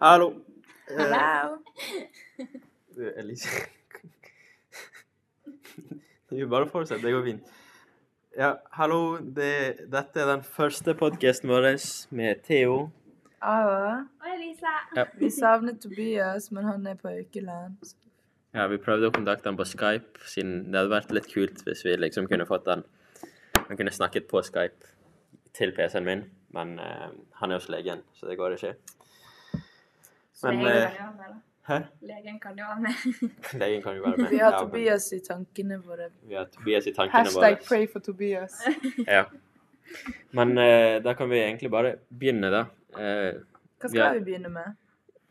Hallo. Hello. Eh, Du, Elise. Jo, bare fortsett. Det går fint. Ja, hallo. Det, dette er den første podkasten vår med Theo. Aua. Og Elisa. Vi savnet Tobias, men han er på Økeland. Ja, vi prøvde å kontakte han på Skype, siden det hadde vært litt kult hvis vi liksom kunne fått han Han kunne snakket på Skype til PC-en min, men eh, han er hos legen, så det går ikke. Men, Legen kan eh, jo være med, da. Hæ? Legen kan jo være med. Legen kan jo være med. Vi Ja, har men Tobias i tankene våre. Vi har Tobias i tankene våre. Hashtag pray for Tobias. Ja. Men eh, da kan vi egentlig bare begynne, da. Eh, Hva Vi er- skal vi begynne med?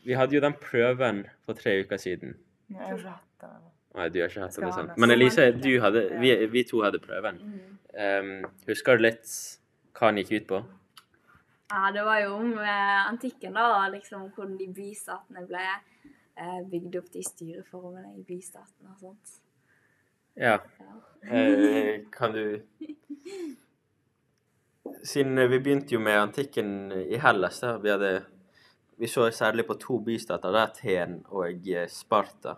vi hadde jo den prøven for tre uker siden. Jeg er rett av meg. Nei, du har ikke hatt Skal den. ha sånn. den. Men Elise, du hadde, vi, vi to hadde prøven. Mm. Em, husker du litt hva den gikk ut på? Ja, det var jo om eh, antikken, da, og liksom hvordan de bystatene ble eh, bygd opp, de styreformene i bystatene og sånt. Ja. Ja. Eh, kan du Siden eh, vi begynte jo med antikken i Hellas, da, vi hadde Vi så særlig på to bystater, det er Aten og eh, Sparta.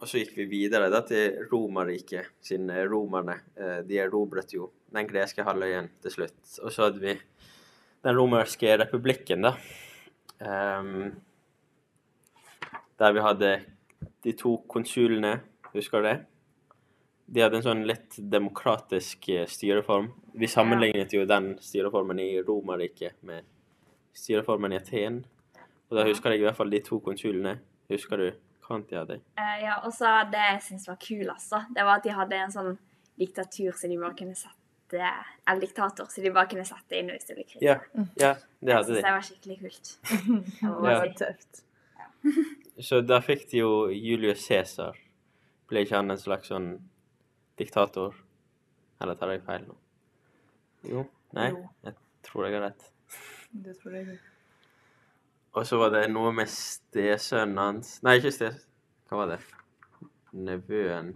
Og så gikk vi videre da til Romerriket, siden eh, romerne eh, de erobret jo den greske halvøyen til slutt. Og så hadde vi den romerske republikken, da. Ehm, der vi hadde de to konsulene, husker du det? De hadde en sånn litt demokratisk eh, styreform. Vi sammenlignet jo den styreformen i Romerriket med styreformen i Aten. Og da husker jeg i hvert fall de to konsulene. Husker du hva de hadde? Eh, ja, og så det jeg syntes var kulest, da, det var at de hadde en sånn diktatur som de bare kunne sette Eller diktator som de bare kunne sette inn hvis det ble krig. Ja, ja, det hadde Mm. Så det de. var skikkelig kult. Jeg må Det bare var si. tøft. Så da fikk de jo Julius Cæsar. Ble ikke han en slags sånn diktator? Eller tar jeg feil nå? Jo. Nei, Jo. jeg tror jeg har rett. Det tror jeg. Og så var det noe med stesønnen hans Nei, ikke stes... Hva var det? Nevøen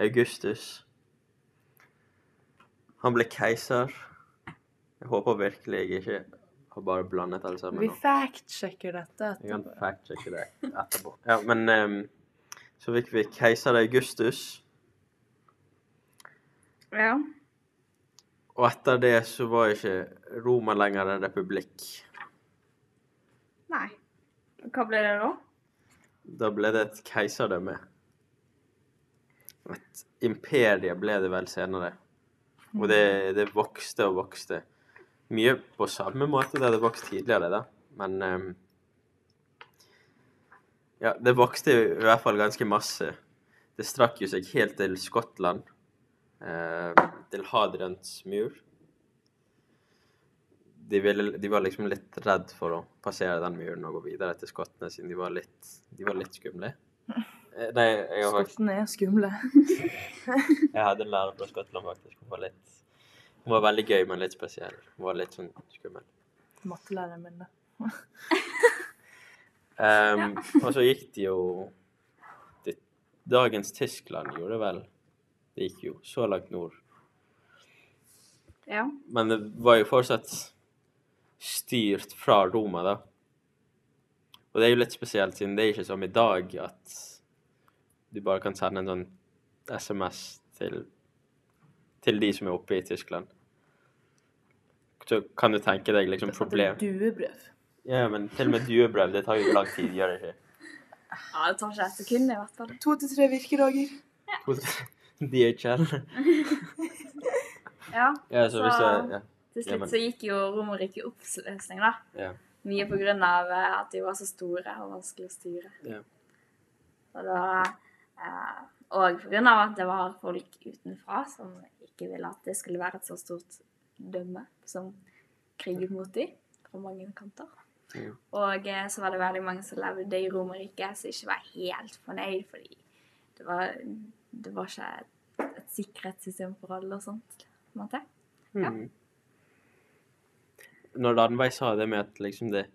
Augustus. Han ble keiser. Jeg håper virkelig jeg ikke har bare blandet alle sammen Vi nå. fact-sjekker dette Jeg kan etterpå. fact-sjekke det etterpå. Ja, men ehm, så fikk vi keiser Augustus, Ja. og etter det så var ikke Roma lenger en republikk. Nei. Hva ble det da? Da ble det et keiserdømme. Et imperie ble det vel senere. Og det, det vokste og vokste. Mye på samme måte det hadde vokst tidligere, da. Men ehm, Ja, det vokste i hvert fall ganske masse. Det strakk jo seg helt til Skottland. eh, til Hadrians mur. De, ville, de var liksom litt redd for å passere den muren og gå videre til skottene, siden de var litt, de var litt skumle. Eh, Nei, jeg har faktisk Skottene er skumle. jeg hadde en lærer fra Skottland faktisk. Hun var litt Hun var veldig gøy, men litt spesiell. Hun var litt sånn skummel. Mattelæreren min, da. Ehm, og så gikk det jo det, Dagens Tyskland gjorde vel Det gikk jo så langt nord. Ja. Men det var jo fortsatt styrt fra Roma, da. Og det er jo litt spesielt, siden det er ikke som i dag at du bare kan sende en sånn SMS til, til de som er oppe i Tyskland. Så kan du tenke deg liksom sånn problem Duebrev. Ja, men til og med duebrev, det tar jo lang tid, gjør det ikke? ja. Det tar ikke et sekund, i hvert fall. To til tre virkedager. DHL. Ja. Ja, så hvis jeg ja. Ja, Til slutt men- så gikk jo Romerriket i oppløsning, da. ja. Mye på grunn av eh, at de var så store og vanskelig å styre. Ja. Og da eh, Og på grunn av at det var folk utenfra som ikke ville at det skulle være et så stort dømme som kriget mot dem fra mange kanter. Ja. Og eh, så var det veldig mange som levde i Romerriket som ikke var helt fornøyd, fordi det var, det var ikke et, et sikkerhetssystem for alle og sånt. på en måte. Ja. Mm. Når Landveig sa det med at liksom det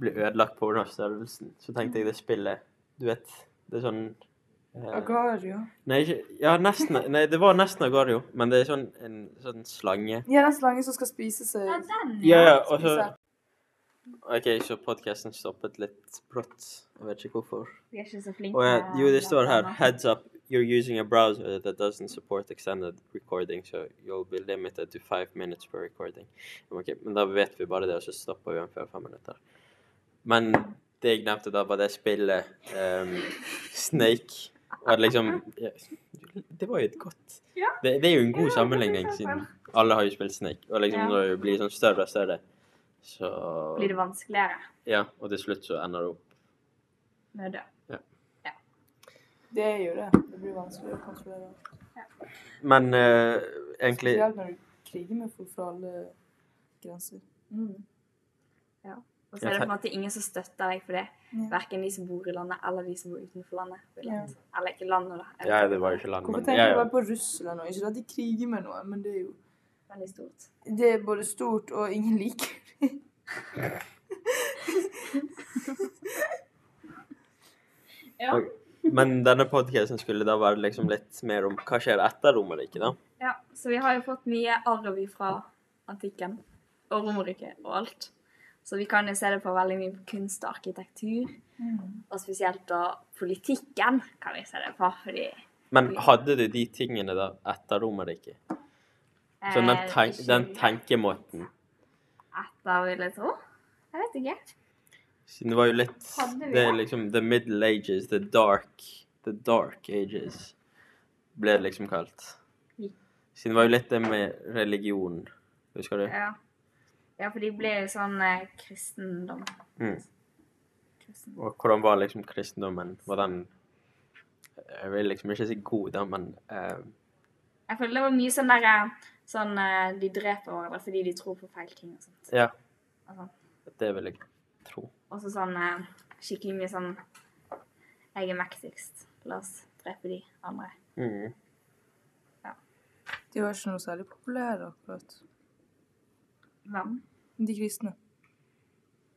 ble ødelagt på grunn av størrelsen, så tenkte jeg det spillet Du vet, det er sånn eh, Agario. Nei, ikke, ja, nesten, nei, det var nesten Agario, men det er sånn en sånn slange. Mm, Ja, den slangen som skal spise seg. den, Ja, ja, og så spiser. OK, så podkasten stoppet litt brått. Jeg vet ikke hvorfor. Vi er ikke så flinke. Og jeg, jo, det står her blant annet. Heads up, you're using a browser that doesn't support extended recording, so you'll be limited to five minutes per recording. Men Ok, men da vet vi bare det, og så stopper vi den før fem minutter. Men det jeg nevnte da, var det spillet ehm, Snake. Og at liksom ja, Det var jo et godt Ja. det, det er jo en Ja, god det sammenligning, synes jeg siden alle har jo spilt Snake. Og liksom Ja. når du blir sånn større og større, så Blir det vanskeligere Ja, og til slutt så ender du opp med å dø? Det er jo det. Det blir vanskelig å kontrollere. Men eh, egentlig Spesielt når du kriger med folk fra alle grenser. Mm. Ja. Og så Ja, er det på fe- en måte ingen som støtter deg for det. Hverken de som bor i landet, eller de som bor utenfor landet. Ja. Eller ikke landet, da. Ja, det var jo ikke land, Hvorfor men tenker ja, jeg ja. bare på Russland nå? Ikke at de kriger med noen, men det er jo Veldig stort. Det er både stort, og ingen liker det. Ja. Ok. Men denne podcasten skulle da være liksom litt mer om hva skjer etter Romerriket, da. ja. Så vi har jo fått mye arv fra antikken og Romerriket og alt. Så vi kan jo se det på veldig mye på kunst og arkitektur, og spesielt da politikken kan vi se det på, fordi Men hadde du de tingene da etter Romerriket? Sånn eh, den, tenk, ikke den tenkemåten. Etter, vil jeg tro. Jeg vet ikke. Siden det var jo litt Hadde vi Det er det? liksom The Middle Ages, The Dark The Dark Ages ble det liksom kalt. Siden det var jo litt det med religion, husker du? Ja. ja, for de ble jo sånn eh, kristendom. Mm. Kristen. Og hvordan var liksom kristendommen? Var den Jeg vil liksom ikke si god, da, men eh, Jeg føler det var mye sånn derre Sånn eh, de dreper hverandre fordi de tror på feil ting og sånt. Ja, Og sånn. det vil jeg tro. Og så sånn eh, skikkelig mye sånn Jeg er mektigst. La oss drepe de andre. Mm. De var ikke noe særlig populære, akkurat. Hvem? De kristne.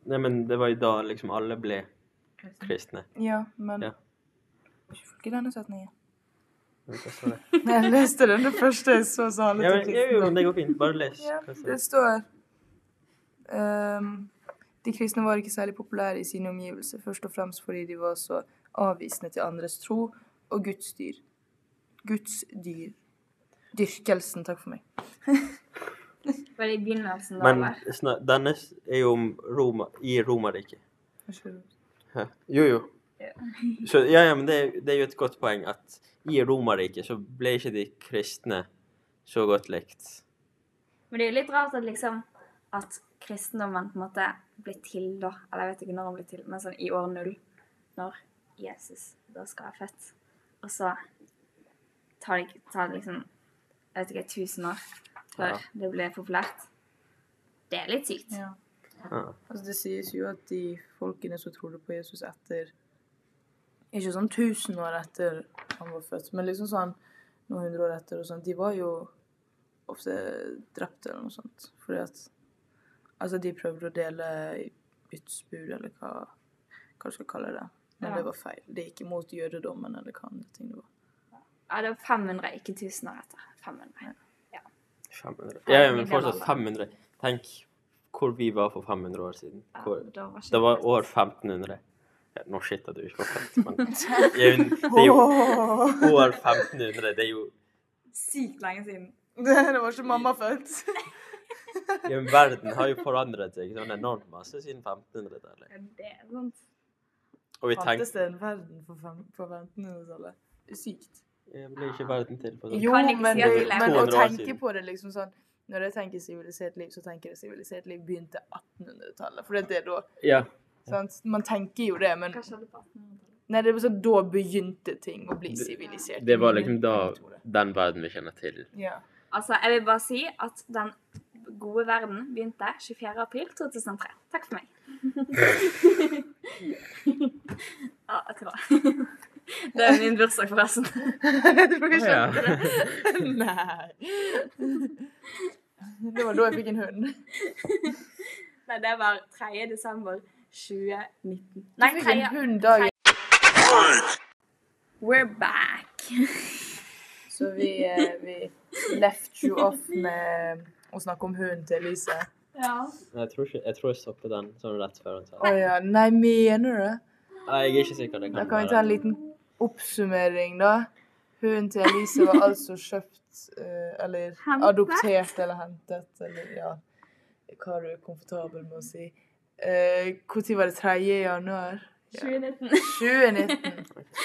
Nei, men det var jo da liksom alle ble kristne. Ja, men Ja. Ikke folk i denne setningen. Hva står det? Jeg leste den det første jeg så, sa alle Ja, til men, jo, jo, men kristne. det går fint. Bare les. Ja, Hva står det det? står ehm, De kristne var ikke særlig populære i sine omgivelser, først og fremst fordi de var så avvisende til andres tro og Guds dyr. Guds dyr. Dyrkelsen, takk for meg. Var sånn det i begynnelsen, da? Men eller? snak, denne s- er jo om Roma, i Romerriket. Hæ? Jo, jo. Ja. Så, ja, ja, men det, det er jo et godt poeng at i Romerriket så ble ikke de kristne så godt likt. Men det er jo litt rart at liksom at kristendommen på en måte ble til da, eller jeg vet ikke når han ble til, men sånn i år null, når Jesus da skal være født. Og så tar det, tar det liksom, jeg vet ikke, tusen år før Ja. det ble populært. Det er litt sykt. Ja. Ja. Altså, det sies jo at de folkene som trodde på Jesus etter Ikke sånn 1000 år etter han var født, men liksom sånn noen hundre år etter og sånn, de var jo ofte drept eller noe sånt. Fordi at Altså, de prøvde å dele byttsbud, eller hva, hva du skal kalle det. Men Ja. det var feil. Det gikk imot jødedommen, eller hva andre ting det var. Ja, det var 500, ikke 1000 år etter. 500. 500. Ja, ja, men fortsatt 500. Tenk hvor vi var for 500 år siden. Ja, Hvor, da var ikke det var født. år 1500. Ja, nå shitter du ikke på fett, men det er jo, det er jo år 1500. Det er jo Sykt lenge siden. Det var ikke mamma født. Ja, men verden har jo forandret seg sånn enormt masse siden 1500-tallet. Ja, Det er sant. Og vi tenkte Fantes det en verden på fem- på 1500-tallet? Sykt. ja, Ble ikke verden til på sånn Jo, kan ikke men, si at vi det, levde men å 200 år tenke siden. på det liksom sånn Når jeg tenker sivilisert liv, så tenker jeg sivilisert liv begynte 1800-tallet. For det er da Ja. sant? Man tenker jo det, men Hva skjedde på 1800-tallet? Nei, det er sånn, da begynte ting å bli Det- sivilisert. Det var liksom da den verden vi kjenner til. Ja. Altså, jeg vil bare si at den gode verden begynte 24. april 2003. Takk for meg. ja, jeg tror det. Det er min bursdag, forresten. jeg tror jeg Ja. skjønte det. Nei. Det var da jeg fikk en hund. Nei, det var 3. desember 2019. Nei, Jeg fikk 3. en hund da. We're back. Så vi, eh, vi left you off med å snakke om hunden til Elise. Ja. Jeg tror, ikke, jeg tror jeg stoppet den sånn rett før han sa Å ja. Nei, mener du det? Nei, jeg er ikke sikker. Det Da kan, kan vi ta en liten oppsummering, da. Hunden til Elise var altså kjøpt eh, eller Hentet. adoptert eller hentet, eller ja Hva du er komfortabel med å si. Eh, Når var det? 3. januar 2019. 2019?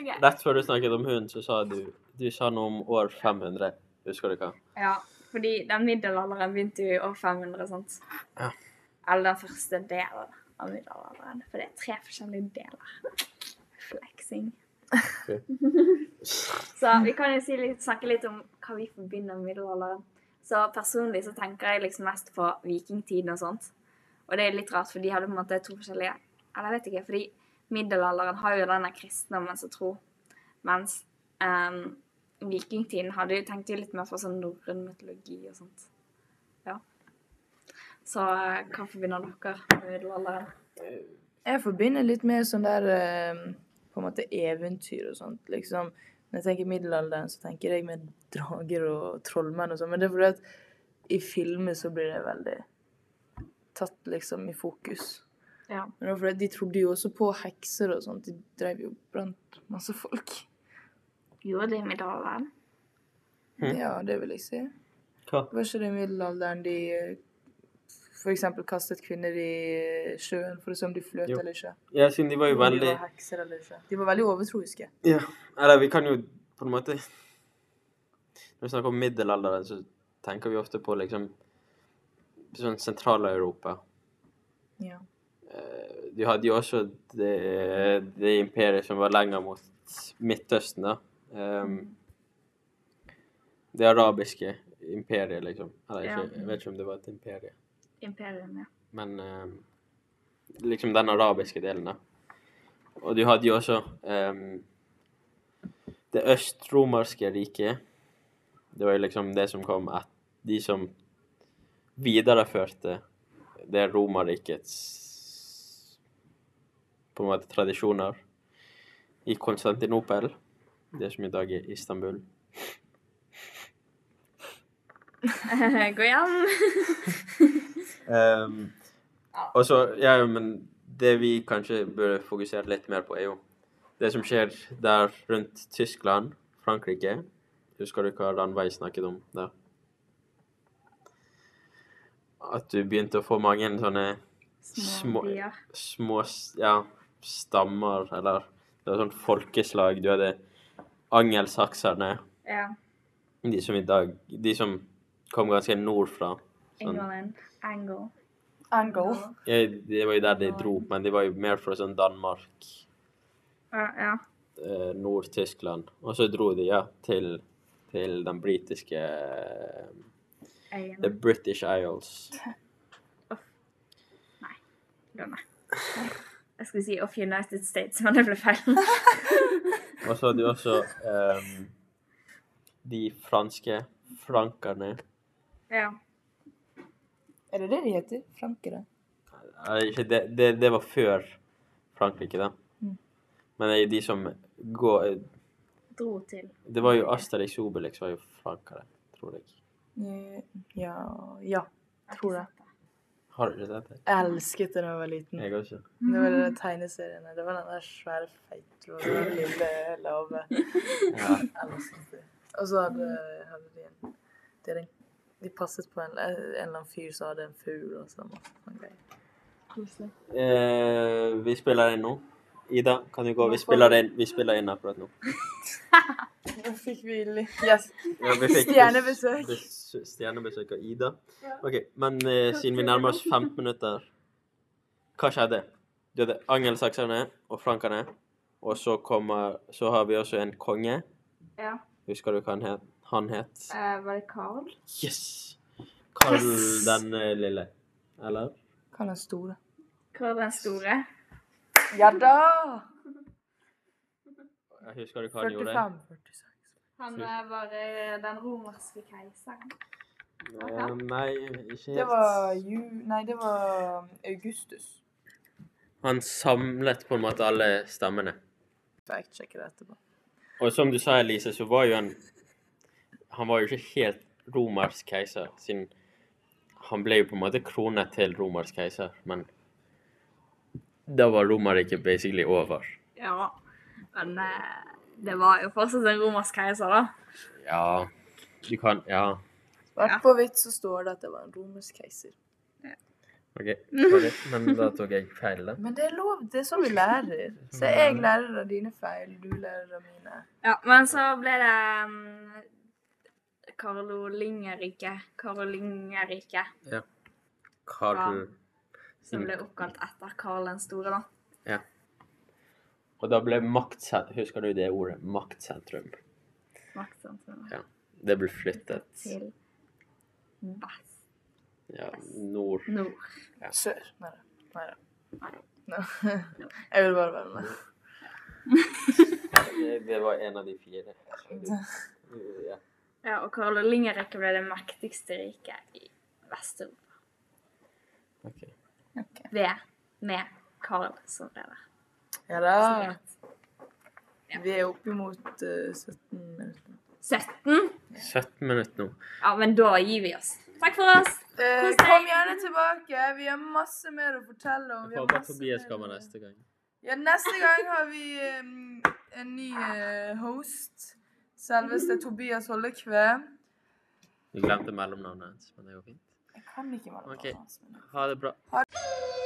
Ok. Rett før du snakket om hund, så sa du Du sa noe om år 500. Husker du hva? Ja, fordi den middelalderen begynte jo i år 500, sant? Ja. Eller den første delen av middelalderen. For det er tre forskjellige deler. Flexing. Ok. så vi kan jo si litt, snakke litt om hva vi forbinder med middelalderen. Så personlig så tenker jeg liksom mest på vikingtiden og sånt. Og det er litt rart, for de hadde på en måte to forskjellige Eller jeg vet ikke, fordi middelalderen har jo denne kristendommen som tro. Mens ehm, vikingtiden hadde jo tenkt jo litt mer på sånn norrøn mytologi og sånt. Ja. Så eh, hva forbinder dere med middelalderen? Jeg forbinder litt med sånn der eh, på en måte eventyr og sånt. liksom. Når jeg tenker middelalderen, så tenker jeg med drager og trollmenn og sånn. Men det er fordi at i filmer så blir det veldig tatt liksom i fokus. Ja. Men det var fordi de trodde jo også på hekser og sånt. De drev jo og brant masse folk. Gjorde det i middelalderen? Mhm. Ja, det vil jeg si. Hva? Var ikke det i middelalderen de eh, for eksempel kastet kvinner i eh, sjøen for å se om de fløt Jo. eller ikke? Ja, siden de var jo Om de veldig var hekser eller ikke. De var veldig overtroiske. Ja. Eller vi kan jo på en måte Når vi snakker om middelalderen, så tenker vi ofte på liksom sånn Sentral-Europa. Ja. Eh, De hadde jo også det, det imperiet som var lenger mot Midtøsten, da. Ehm, det arabiske imperiet, liksom. Eller ikke, Ja. jeg vet ikke om det var et imperie, Imperium, ja. men ehm, liksom den arabiske delen, da. Og du hadde jo også ehm, det østromerske riket. Det var jo liksom det som kom et, De som videreførte det Romerrikets på en måte tradisjoner i Konstantinopel, det som i dag er Istanbul. Gå hjem! Ehm, og så, ja, men det vi kanskje burde fokusere litt mer på, er jo det som skjer der rundt Tyskland, Frankrike. Husker du hva Ranveig snakket om der? At du begynte å få mange sånne Små- Små byer. små s- ja, stammer, eller det var sånn folkeslag. Du hadde angelsakserne, Ja. de som i dag De som kom ganske nordfra. Sånn. England. Angle. Angle. Ja, det var jo der de dro, men de var jo mer fra sånn Danmark, Ja, ja. eh, Nord-Tyskland. Og så dro de, ja, til, til den britiske eh, The Øyene. British Isles. Glem det. Jeg skulle si Of United States, men det ble feil. Og så hadde du også eh, de franske frankerne. ja. Er det det de heter? Frankere? Nei, ikke det, det, det var før Frankrike, da. Mm. Men det er jo de som går eh, Dro til. Det var jo Asterix Obelix var jo frankere, tror jeg. Eh, Ja, ja. Tror det. Har du ikke sett det? Jeg elsket det da jeg var liten. Jeg også. Det var den tegneserien. Det var den der svære feite og den lille lave. Ja. Jeg elsket det. Og så hadde, hadde de en de, hadde en de passet på en, en eller annen fyr som hadde en fugl og sånn. sånn greier. Eh, vi spiller inn nå. Ida, kan du gå? Vi spiller inn, vi spiller inn akkurat nå. Nå fikk vi litt yes. Ja, vi fikk bes- Stjernebesøk. bes- Stjernebesøk av Ida. Ja. OK, men eh, siden vi nærmer oss 15 minutter Hva skjedde? Du hadde angelsakserne og frankerne, og så kommer Så har vi også en konge. Ja. Husker du hva han het? Han het Eh, var det Carl? Yes! Karl Yes! den eh, lille. Eller? Hva er den store? Carl den store? Ja da! Jeg husker du hva han gjorde? 45. 46. Han eh, var den romerske keiseren. Eh, nei, ikke Det var helt. ju... Nei, det var um, Augustus. Han samlet på en måte alle stemmene. Fact-sjekke det etterpå. Og som du sa, Elise, så var jo han Han var jo ikke helt romersk keiser, siden Han ble jo på en måte kronet til romersk keiser, men da var Romerriket basically over. Ja. Men eh, det var jo fortsatt en romersk keiser, da. Ja, du kan Ja, Svart på hvitt så står det at det var en romersk keiser. OK. sorry, Men da tok jeg feil, da. Men det er lov, det er sånn vi lærer. Så jeg lærer av dine feil, du lærer av mine. Ja, men så ble det mm, Karolingerriket. Karolingerriket. Karl Som ble oppkalt etter Karl den store, da. Og da ble maktsentrum Husker du det ordet? Maktsentrum. Maktsentrum. Det ble flyttet Til vest. ja, nord. Nord. Sør. Nei da. Nei da. Nei. Jeg vil bare være med. Det, det var en av de fire. Ja. Ja, og Karolingerriket ble det mektigste riket i Vest-Europa. ok. Ved, med Karl som leder. Ja da. Som leder. Vi er oppimot eh, 17 minutter. 17? 17 minutter nå. Ja, men da gir vi oss. Takk for oss. Eh, Kos deg. kom gjerne tilbake. Vi har masse mer å fortelle om. Jeg Vi har får bare masse Tobias mer- komme neste gang. Ja, neste gang har vi em, en ny eh, host. Selveste Tobias Hollekve. Vi glemte mellomnavnet hans, men det går fint. Jeg kan ikke være Ok. Ha det bra.